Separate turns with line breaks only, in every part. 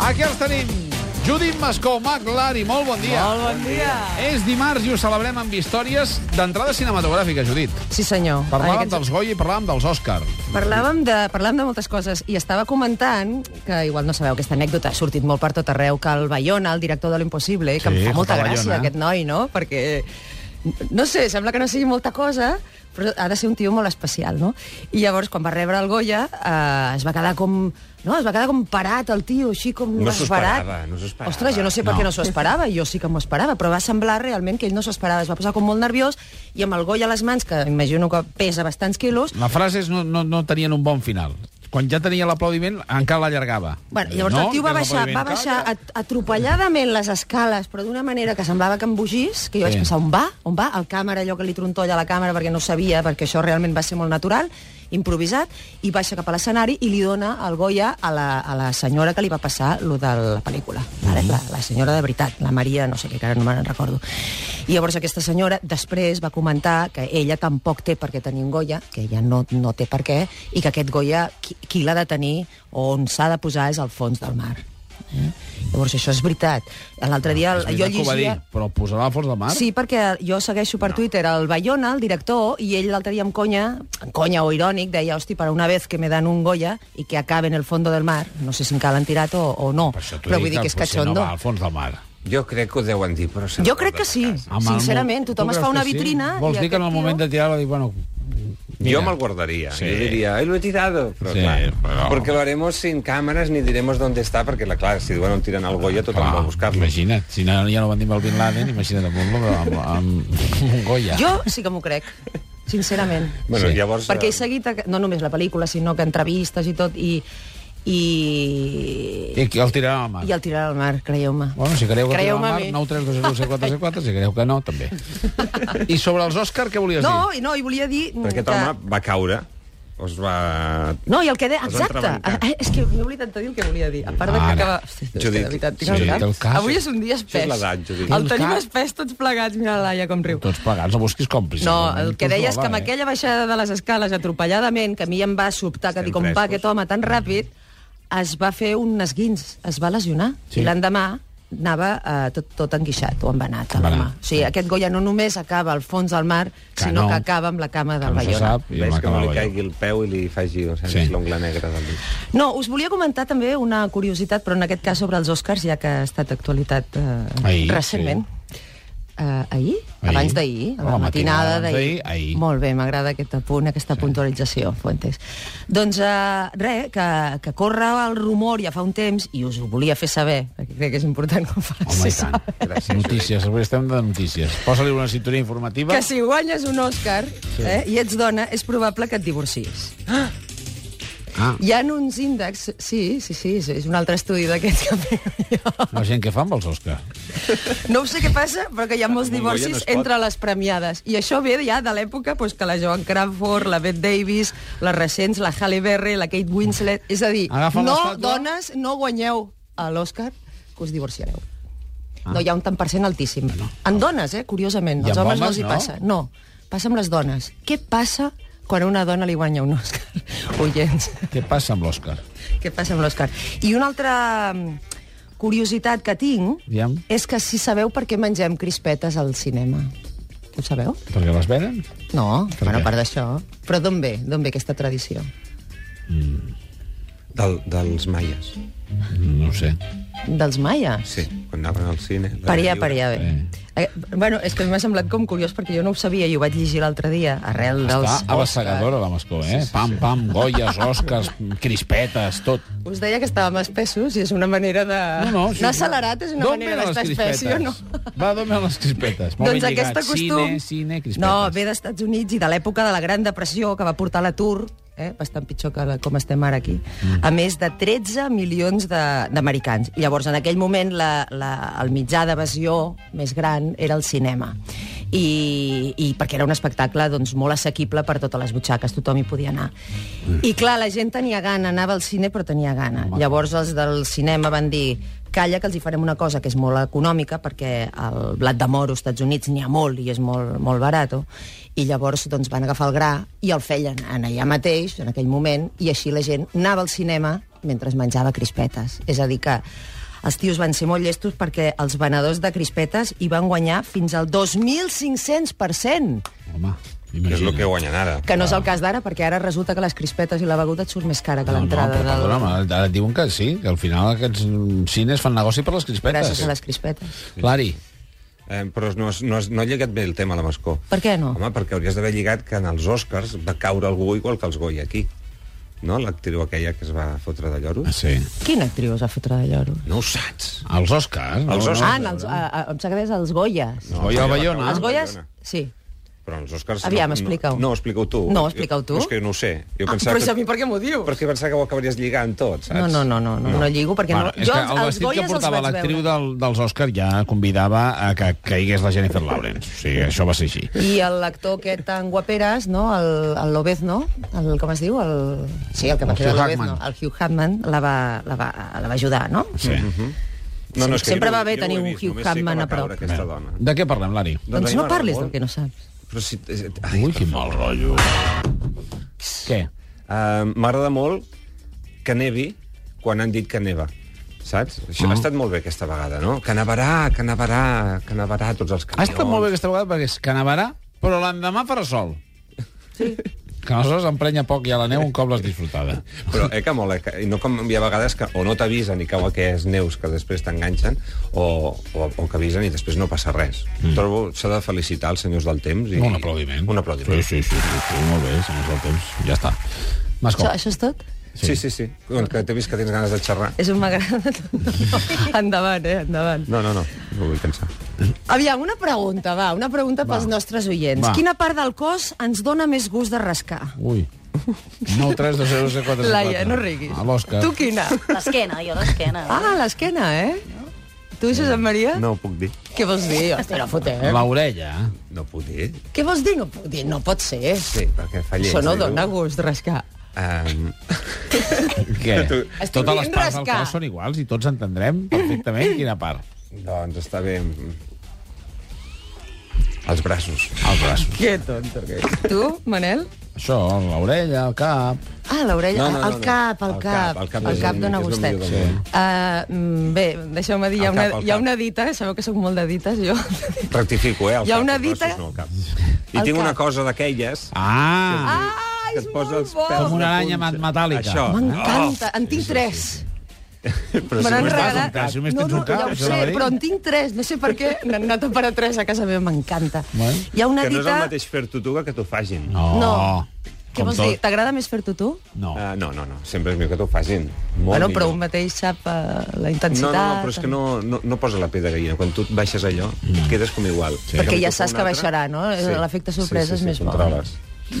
Aquí els tenim. Judit Mascó, McLari, molt bon dia.
Molt bon dia.
És dimarts i ho celebrem amb històries d'entrada cinematogràfica, Judit.
Sí, senyor.
Parlàvem
En aquest-
dels Goya i parlàvem dels Òscar.
Parlàvem de, parlàvem de moltes coses i estava comentant, que igual no sabeu aquesta anècdota, ha sortit molt per tot arreu, que el Bayona, el director de l'Impossible, que
Sí,
em fa molta
Jota
gràcia
Bayona.
aquest noi, no? Perquè, no sé, sembla que no sigui molta cosa, però ha de ser un tio molt especial, no? I llavors, quan va rebre el Goya, eh, es va quedar com... No, es va quedar com parat el tio, així com
No s'ho
esbarat.
esperava, no s'ho esperava.
Ostres, jo no sé per
No.
què no s'ho esperava, jo sí que m'ho esperava, però va semblar realment que ell no s'ho esperava, es va posar com molt nerviós i amb el Goya a les mans, que imagino que pesa bastants quilos,
La frase és no, no, no tenien un bon final. Quan ja tenia l'aplaudiment, encara l'allargava.
Bueno, llavors
no,
no, el tio va
que és
baixar, va
l'aplaudiment.
baixar at atropelladament les escales, però d'una manera que semblava que embogís, que jo
Sí.
vaig pensar, on va? On va? El càmera, allò que li trontolla a la càmera perquè no sabia, perquè això realment va ser molt natural, improvisat, i baixa cap a l'escenari i li dona el Goya a la, a la senyora que li va passar lo de la pel·lícula. Vale? La, la senyora de veritat, la Maria, no sé què, que ara no me'n recordo. I llavors aquesta senyora després va comentar que ella tampoc té per què tenir un Goya, que ella no, no té per què, i que aquest Goya, qui, qui l'ha de tenir o on s'ha de posar és al fons del mar. Eh? Llavors, això és veritat. L'altre dia
Ah,
el,
És veritat
jo
que ho va dir,
llegia...
però el posarà al fons del mar?
Sí, perquè jo segueixo per Twitter el Bayona, el director, i ell l'altre dia amb conya, amb conya o irònic, deia, hosti, per una vez que me dan un Goya i que acabe en el fondo del mar, no sé si encara l'han tirat o, o no,
Per això t'ho
però
dic,
vull dir que és
potser
cachondo.
No va al fons del mar.
Jo crec que ho deuen dir, però... se'n
Jo crec que sí,
recorda de casa.
Amb el
sincerament.
mo-
Tothom
tu
es fa
creus
una
que sí?
vitrina...
Vols
i
dir que en el
aquest
moment
tio-
de tirar-la dic, bueno...
Yo me lo guardaría.
Sí.
Yo diría, "Ay, lo he tirado. Pero
Sí,
claro,
pero-
Porque lo haremos sin cámaras ni diremos dónde está, porque la claro, si bueno, tiran al Goya, tothom va a buscarlo.
Imagina't, si no, ja no van dir amb el Bin Laden, imagina't amb, un- amb, amb, amb un Goya.
Jo sí que m'ho crec, sincerament.
Bueno,
Sí.
llavors...
Perquè he
eh,
seguit, a- no només la pel·lícula, sinó que entrevistes i tot, i... I,
I aquí el tiraran al mar.
i el tirar al mar, creieu-me.
Bueno, si creieu que
Creieu-me
tenen
a
el mar,
mi.
9 3 2 0 6 4 6 4, si creieu que no, també. I sobre els Òscar, què volies
No,
dir?
i no, i volia dir...
Però aquest
que...
home va caure, us va...
No, i el que de...
Els van
Exacte.
trebancar.
Ah, és que m'he oblidat de dir el que volia dir. A part de que
Ara.
acaba... Hosti, és que
Judit,
de veritat, tinc
sí,
el cap.
té el cas.
Avui és un dia espès.
Això és l'edat, Judit.
Té el
El tenim
cap.
espès tots plegats. Mira la Laia com riu.
Tots plegats, no busquis còmplices.
No, el que
Tots
deia és
roba,
que amb
eh?
aquella baixada de les escales atropelladament, que a mi em va sobtar, que
Estem
dic, com va
frescos.
aquest home tan ràpid, es va fer un esguins, es va lesionar.
Sí.
Sí. I l'endemà anava eh, tot, tot enguixat o embenat.
Embenat.
l'home. O sigui, aquest Goya no només acaba al fons del mar,
Que
sinó
no.
que acaba amb la cama
Que
del
no se
Bayona.
sap, i
Veig que no li
m'acaba
caigui el peu i li faci o sigui,
Sí.
l'ungla negra del dit.
No, us volia comentar també una curiositat, però en aquest cas sobre els Oscars, ja que ha estat actualitat eh,
Ahir,
recentment. Eh, ahir?
Ahir.
Abans d'ahir? A
A la
la matinada
matinada d'ahir,
d'ahir?
ahir.
Molt bé, m'agrada aquest apunt, aquesta puntualització, Fuentes. Doncs eh, res, que, que corre el rumor ja fa un temps, i us ho volia fer saber, perquè crec que és important que ho
Home,
faci
i tant.
saber.
Gràcies, notícies, avui estem de notícies. Posa-li una cinturia informativa.
Que si guanyes un Oscar eh, i ets dona, és probable que et divorcies.
Ah,
Hi ha uns índexs... Sí, sí, sí, és- és un altre estudi d'aquests que feia jo.
la gent que fa amb els Òscar.
No ho sé què passa, però que hi ha molts
Amb Mongolia
divorcis
no es pot.
entre les premiades. I això ve ja de l'època doncs, que la Joan Crawford, la Bette Davis, les recents, la Halle Berry, la Kate Winslet... És a dir,
Agafen
no,
l'estàtua.
dones, no guanyeu a l'Oscar, que us divorciareu. No, hi ha un tant per cent altíssim. En dones, eh, curiosament.
I
Els
amb
homes, no
homes,
els hi
no?
passa. No, passa amb les dones. Què passa quan a una dona li guanya un Oscar? Oients.
Què passa amb l'Òscar?
Què passa amb l'Òscar? I una altra mm, curiositat que tinc
Aviam.
és que si sabeu per què mengem crispetes al cinema. Ho sabeu?
Perquè les venen?
No,
Per
bueno,
què?
a part d'això. Però d'on ve? D'on ve aquesta tradició?
Del, dels maies.
No ho sé.
Dels maies?
Sí, quan anaven al cine. la
Per allà,
lliure.
per allà ve.
Eh.
Eh, bueno, és que m'ha semblat com curiós perquè jo no ho sabia i ho vaig llegir l'altre dia, arrel dels...
Està
Oscars.
abassegadora, la Mascó, eh? Pam, pam, goies, Òscars, crispetes, tot.
Us deia que estàvem espessos i és una manera de...
sí,
Anar Ah, accelerat és una
d'on
manera
venen les
d'estar espessi o no?
crispetes? Va, d'on venen les crispetes? Molt
doncs
ben
aquest
lligat.
costum...
Cine, cine, crispetes.
no, ve d'Estats Units i de l'època de la Gran Depressió que va portar l'atur, eh, bastant pitjor que la, com estem ara aquí, mm. a més de 13 milions de- d'americans. I Llavors, en aquell moment, la, la, el mitjà d'evasió més gran era el cinema. I, i perquè era un espectacle doncs, molt assequible per totes les butxaques, tothom hi podia anar.
Mm.
I clar, la gent tenia gana, anava al cine però tenia gana. Llavors els del cinema van dir calla, que els hi farem una cosa que és molt econòmica, perquè el blat de moro als Estats Units n'hi ha molt i és molt, molt barat, i llavors doncs, van agafar el gra i el feien en allà mateix, en aquell moment, i així la gent anava al cinema mentre es menjava crispetes. És a dir, que els tios van ser molt llestos perquè els venedors de crispetes hi van guanyar fins al 2.500%,
Home,
Que
imagina.
és el que guanyen ara.
que no és el cas d'ara, perquè ara resulta que les crispetes i la beguda et surt més cara que
No, no,
l'entrada
però
del...
perdona'm, ara et diuen que sí, que al final aquests mm, cines fan negoci per les crispetes.
Gràcies a les crispetes.
Lari,
Eh, però no, has- no, has- no ha lligat bé el tema, la Mascó.
Per què no?
Home, perquè hauries d'haver lligat que en els Oscars va caure algú igual que els Goya aquí. No? L'actriu aquella que es va fotre de lloros.
ah, sí.
Quina actriu es va fotre de lloro?
No ho saps.
Els Oscars.
Els Oscars.
Ah, en els, a, a, em sembla que és els Goyes.
No, Goya Bayona.
Els Goyes,
Bayona.
sí.
Però els Oscars...
Aviam,
no,
explica-ho.
No, no explica-ho tu.
No, explica-ho tu.
Jo, és que no ho sé. Jo
Ah,
pensava
però és a mi per què m'ho dius?
Perquè pensava que ho acabaries lligant tot, saps?
No, no, no, no, no, no lligo, perquè
Bueno,
no...
és que el vestit que
Goyes
portava
vaig
l'actriu
veure.
del, dels Oscars ja convidava a que caigués la Jennifer Lawrence. O sigui, això va ser així.
I l'actor aquest tan guaperes, no? El, el López, no? El, com es diu? El... Sí, el que va
El
fer de
Hugh
López,
Jackman.
no? El Hugh Jackman la va, la va, la va ajudar, no?
Sí. Mhm.
No, no, és que
Sempre
jo no-
va bé
jo no ho
tenir
he
un
vist,
Hugh
només sé que
Jackman
va
a prop.
caure Aquesta dona.
De què parlem, Lari?
Doncs,
a mi
no
m'agrada
parlis
molt.
del que no saps.
Però si... eh, Ai,
Ui, quin mal rotllo. Què?
Uh, M'agrada molt que nevi quan han dit que neva. Saps?
Ah.
Això ha estat molt bé aquesta vegada, no? Que nevarà, que nevarà, que nevarà a tots els
Ha
camions.
estat molt bé aquesta vegada perquè és que nevarà, però l'endemà farà sol. Sí. Que aleshores emprenya poc i a la neu un cop l'has disfrutada.
Però eh, que mola, que, i no com hi ha vegades que o no t'avisen i cau aquelles neus que després t'enganxen, o, o, o que avisen i després no passa res. Mm. Trobo, s'ha de felicitar els senyors del temps. I,
Un aplaudiment.
Un aplaudiment.
Sí, sí, sí. sí, sí molt bé, senyors del temps. Ja està. Mascó.
Això, això és tot?
Sí, sí, sí. sí. Que t'he vist que tens ganes de xerrar.
És un m'agrada. endavant, eh? Endavant.
No, no, no, no vull cansar.
Aviam, una pregunta, va, una pregunta pels nostres oients.
Va.
Quina part del cos ens dona més gust de rascar?
Ui. 9 3 de 0 4 4
Laia, no riguis.
Ah,
A l'Òscar.
Tu quina?
L'esquena, jo l'esquena.
Ah, l'esquena, eh? Tu, Josep Maria?
No ho puc dir.
Què vols dir? Hosti, no fotem.
Eh? L'orella.
No ho puc dir?
Què vols dir? No puc dir, no pot ser.
Sí, perquè eh, fa lleig.
Això no
dir-ho.
dona gust, rascar.
Um,
Què?
Tu-
Estic
Totes les
dient
parts del
rascar.
cos són iguals i tots entendrem perfectament quina part.
doncs està bé. Els braços.
Els braços.
Que tonto que ets. Tu, Manel?
Això, l'orella, el cap...
Ah, l'orella,
No, no, no,
el
no.
cap, el
El
cap.
cap, el cap
El
és
cap
el-
dona
és el
gustet.
millor del món.
Ah, mm, bé, deixeu-me dir, hi ha,
El
una,
cap, el
hi ha
cap.
una dita, sabeu que sóc molt de dites, jo.
Rectifico, eh? El
Hi ha
cap,
una
els
dita-
braços, No, el cap. I
El
tinc una
cap.
cosa d'aquelles
Ah!
Ah,
que
és
et posa
molt
els
bo!
pèls
Com una
de
aranya
punxa.
metàl·lica.
Això.
M'encanta, en tinc tres.
Oh, però
Me
si
n'han
no estàs-
regalat.
regalat...
cap, si només
no,
tens
no,
un cap,
ja ho
això
sé,
anava a dir.
però en tinc tres, no sé per què, n'han anat a parar tres a casa meva, m'encanta.
Bueno.
Hi ha una
Que no és
dita...
el mateix fer-t'ho tu que que t'ho facin.
No.
No.
Oh,
Què
Com
vols
tot.
dir? T'agrada més fer-ho tu?
No.
Ah, no, no, no. Sempre és millor que t'ho facin. Molt
bueno, però
millor.
un mateix sap eh, la
No,
intensitat...
no, no, però és que no, no, no posa la pell de gallina. Quan tu et baixes allò, mm. quedes com igual. Sí.
Perquè ja saps que baixarà, no? L'efecte sorpresa és més bo.
controles.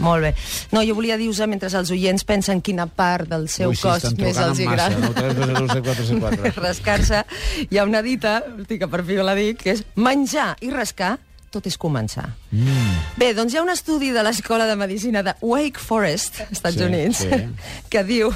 Molt bé. No, jo volia dir-vos, mentre els oients pensen quina part del seu
Ui, sí,
cos
estan
més
trucant
els
en
hi
massa.
agrada.
9 3 2 0 7 4 7 4.
rascar-se. Hi ha una dita, hosti, que per fi la dic, que és menjar i rascar, tot és començar. Mm. Bé, doncs hi ha un estudi de l'Escola de Medicina de Wake Forest, Estats
Sí,
Units,
sí.
que diu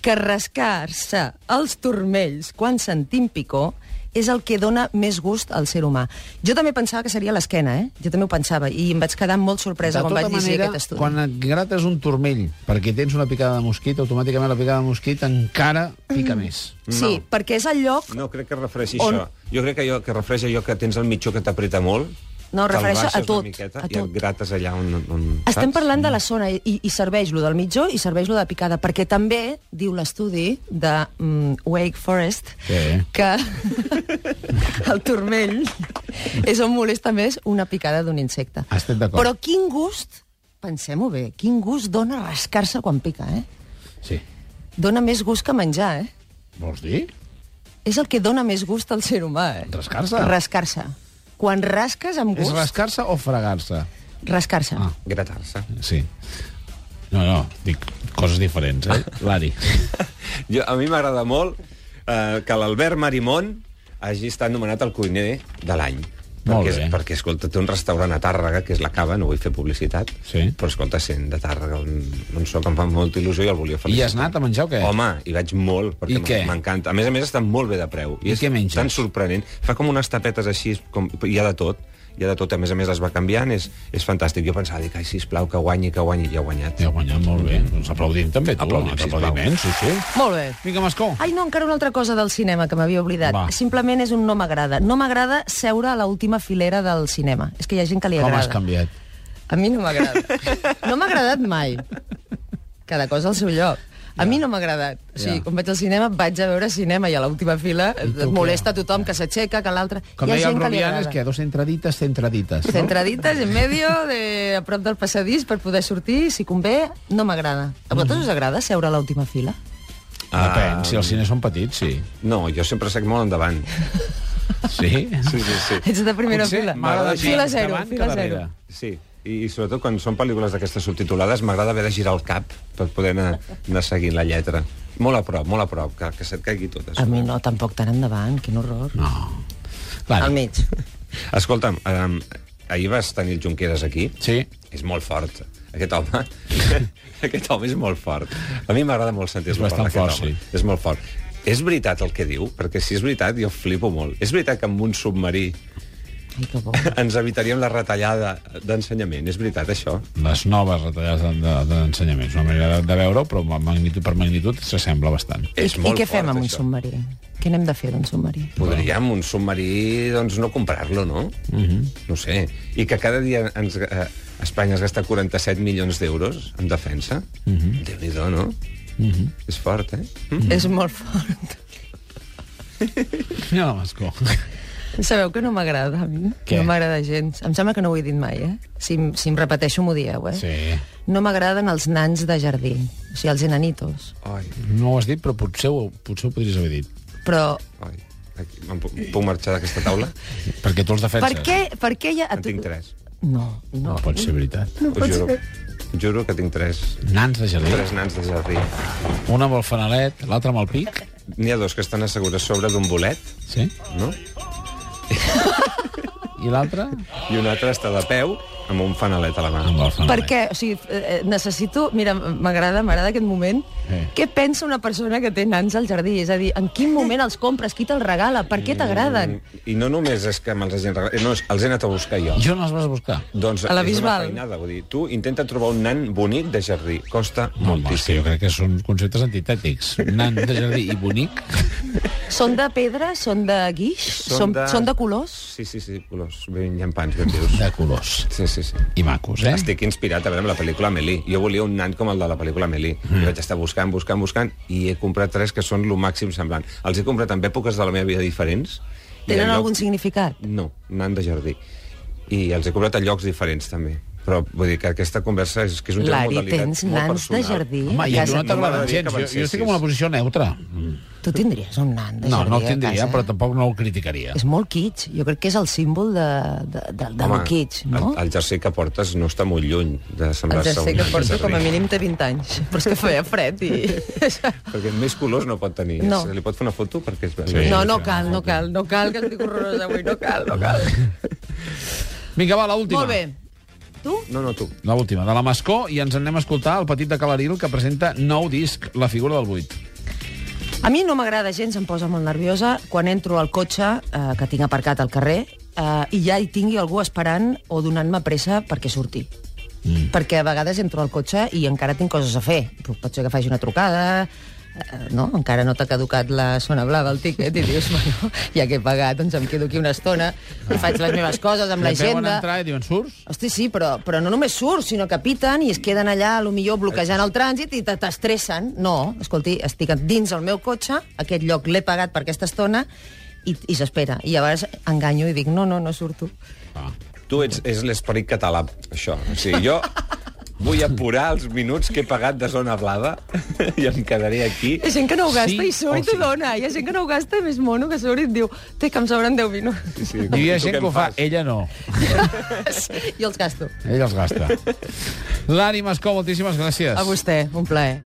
que rascar-se els turmells quan sentim picor és el que dona més gust al ser humà. Jo també pensava que seria l'esquena, eh? Jo també ho pensava, i em vaig quedar molt sorpresa quan vaig llegir aquest estudi.
tota quan et grates un turmell perquè tens una picada de mosquit, automàticament la picada de mosquit encara pica
Mm.
més.
Sí,
No.
perquè és el lloc
No crec que es refereixi
On-
On... això. Jo crec que, jo, que refereix allò que tens el mitjó que t'apreta molt.
No,
te'l
refereixo a
baixes
tot,
Una miqueta,
a
I
tot.
et grates allà on... on
Estem
saps?
parlant de
Mm.
la zona i, i serveix lo del mitjó i serveix lo de picada, perquè també diu l'estudi de mm, Wake Forest
Què?
que el turmell és on molesta més una picada d'un insecte.
Estem d'acord.
Però quin gust, pensem-ho bé, quin gust dona rascar-se quan pica, eh?
Sí.
Dona més gust que menjar, eh?
Vols dir?
És el que dona més gust al ser humà, eh?
Rascar-se?
Rascar-se. Quan rasques amb
És
gust,
rascar-se o fregar-se?
rascar-se.
Ah.
Gratar-se.
Sí. No, no, dic coses diferents, eh? Lari.
Jo, a mi m'agrada molt eh, que l'Albert Marimón hagi estat nomenat el cuiner de l'any.
Molt
Perquè, és-
bé.
perquè, escolta, té un restaurant a Tàrrega, que és la Cava, no vull fer publicitat,
Sí.
però, escolta, sent de Tàrrega, on, on soc, em fa molta il·lusió i el volia
I
felicitar.
has anat a menjar o què?
Home, hi vaig molt,
I
perquè m-
què?
m'encanta. A més a més, està molt bé de preu.
I què menges?
Tan sorprenent. Fa com unes tapetes així, com, hi ha de tot. hi ha de tot, a més a més es va canviant, és, és fantàstic. Jo pensava, dic, ai, sisplau, que guanyi, que guanyi, i ha guanyat.
Ja guanyat molt bé. Doncs aplaudim també, tu.
Aplaudim,
Aplaudim,
sisplau.
aplaudiment, sí, sí.
Molt bé.
Vinga, Mascó.
Ai, no, encara una altra cosa del cinema que m'havia oblidat.
Va.
Simplement és un no m'agrada. No m'agrada seure a l'última filera del cinema. És que hi ha gent que li
Com
agrada.
has canviat?
A mi no m'agrada. No m'ha agradat mai. Cada cosa al seu lloc. A mi no m'ha agradat. O sigui,
Ja.
quan vaig al cinema, vaig a veure cinema i a l'última fila
tu
et molesta
què?
tothom que s'aixeca, que l'altre...
Com
Hi ha
deia el
gent que li
Rubian,
agrada.
és que dos entradites, centradites. No?
Centradites, en medio, de, a prop del passadís, per poder sortir, si convé, no m'agrada. A vosaltres us agrada seure a l'última fila?
Depèn, si els cines són petits, sí.
No, jo sempre sec molt endavant.
Sí?
Sí, sí, sí.
Ets de primera
Potser
fila.
m'agrada
Fila
girar
zero,
endavant que
fila
darrere.
zero.
Sí, i, i sobretot quan són pel·lícules d'aquestes subtitulades m'agrada haver de girar el cap per poder anar, anar seguint la lletra. Molt a prop, molt a prop, que, que se't caigui tot.
A mi no, tampoc tan endavant, quin horror.
No. Clar.
Al mig.
Escolta'm, um, ahir vas tenir el Junqueras aquí.
Sí.
És molt fort, aquest home. aquest home és molt fort. A mi m'agrada molt sentir-lo
És bastant
parlar, aquest
fort,
home. És molt fort. És veritat el que diu? Perquè si és veritat, jo flipo molt. És veritat que amb un submarí
Ai, que bo.
ens evitaríem la retallada d'ensenyament? És veritat, això?
Les noves retallades de- de- d'ensenyament. És una manera de- de veure-ho, però magnitud per magnitud s'assembla bastant.
És molt
I què
fort,
fem amb un
això.
submarí? Què n'hem de fer d'un submarí?
Podríem un submarí, doncs, no comprar-lo, no? Mm -hmm. No ho sé. I que cada dia ens, eh, Espanya es gasta 47 milions d'euros en defensa? Mm -hmm. Déu-n'hi-do, no? Mm
Mhm.
-hmm. És fort, eh? Mm?
És molt fort.
Mira la Mascó.
Sabeu que no m'agrada a mi?
Què?
No m'agrada gens. Em sembla que no ho he dit mai, eh? Si, em- si em repeteixo m'ho dieu, eh?
Sí.
No m'agraden els nans de jardí, o sigui, els enanitos.
Ai,
No ho has dit, però potser ho, potser ho podries haver dit.
Però
ai. Aquí, em puc, puc marxar d'aquesta taula?
Perquè tu els defenses.
per què, per què hi ha... a
En
tu-
tinc tres.
No,
No
no.
pot ser veritat.
No Ho juro. Juro que tinc tres,
Nans de jardí.
tres nans de jardí.
Una amb el fanalet, l'altra amb el pic.
N'hi ha dos que estan assegudes sobre d'un bolet,
Sí.
no?
I l'altra?
I un altre està de peu amb un fanalet a la mà.
Amb el fanalet.
Per què? O sigui, eh, eh, necessito... Mira, m'agrada, m'agrada aquest moment.
Eh.
Què pensa una persona que té nans al jardí? És a dir, en quin moment els compres? Qui te'ls regala? Per
Eh,
què t'agraden?
I no només és que me'ls hagin regalat, no, és- els he anat a buscar jo.
Jo no les vas buscar.
Doncs
A la
és una
Bisbal.
feinada, vull dir, tu intenta trobar un nan bonic de jardí, costa
No, home, és que
moltíssim.
jo crec que són conceptes antitètics. Nan de jardí i bonic.
Són de pedra? Són de guix? Són, són de colors?
Sí, sí, sí, colors, ben llampants, ben vius.
De colors.
Sí, sí, sí.
I macos, eh?
Estic inspirat, a veure, amb la pel·lícula Amélie. Jo volia un nan com el de la pel·lícula Amélie. Mm. I vaig estar buscant, buscant, buscant, i he comprat tres que són el màxim semblant. Els he comprat en èpoques de la meva vida diferents. i en
Tenen
llocs-
algun significat?
No, nan de jardí. I els he comprat a llocs diferents, també. Però vull dir que aquesta conversa és que és un joc
Lari,
molt delicat,
tens
molt
nans de
personal.
jardí?
Home, i
a
a tu
casa
no t'agraden
m'agradaria
gens. Jo,
que
jo estic en
avancessis.
una posició neutra.
Tu tindries un nan de
No,
jardí
Mm. no
a
el tindria,
casa.
però tampoc no el criticaria.
És molt kitsch. Jo crec que és el símbol de, de, de, de lo kitsch, no?
el, el jersei que portes no està molt lluny de
El
semblar-se a
jersei
un
que
nan de
porto com a
jardí.
mínim té 20 anys, però és que feia fred i...
Perquè més colors no pot tenir.
No.
Se li pot fer una foto perquè és...
Sí.
No, no cal, no cal, no cal, que estic horrorosa avui, no cal, no cal.
Vinga, va, l'última.
Molt bé. Tu?
No, no, tu.
La última, de la Mascó, i ens en anem a escoltar el petit de Calaril, que presenta nou disc, La figura del buit.
A mi no m'agrada gens, em posa molt nerviosa quan entro al cotxe eh, que tinc aparcat al carrer eh, i ja hi tingui algú esperant o donant-me pressa perquè surti. Mm. Perquè a vegades entro al cotxe i encara tinc coses a fer. Pot pot ser que faci una trucada, eh, no? encara no t'ha caducat la zona blava del tiquet i dius, bueno, ja que he pagat, doncs em quedo aquí una estona i faig les meves coses amb la
Veuen
agenda.
entrar i diuen, surts?
Hosti, sí, però, però no només surt, sinó que piten i es queden allà, a lo millor bloquejant el trànsit i te- t'estressen. No, escolti, estic dins el meu cotxe, aquest lloc l'he pagat per aquesta estona, i, i s'espera. I llavors enganyo i dic, no, no, no surto.
Ah.
Tu ets, és l'esperit català, això. O sigui, jo vull apurar els minuts que he pagat de zona blava i em quedaré aquí.
Hi ha gent que no ho gasta
Sí
i surt
o
i t'ho
sí?
dona. Hi ha gent que no ho gasta i més mono que surt i et diu, té, que em sobren 10 minuts.
Sí,
Hi
sí, tu
ha
què
gent
em
que ho fa,
fas?
ella no.
jo els gasto.
Ella els gasta. L'Ànima Mascó, moltíssimes gràcies.
A vostè, un plaer.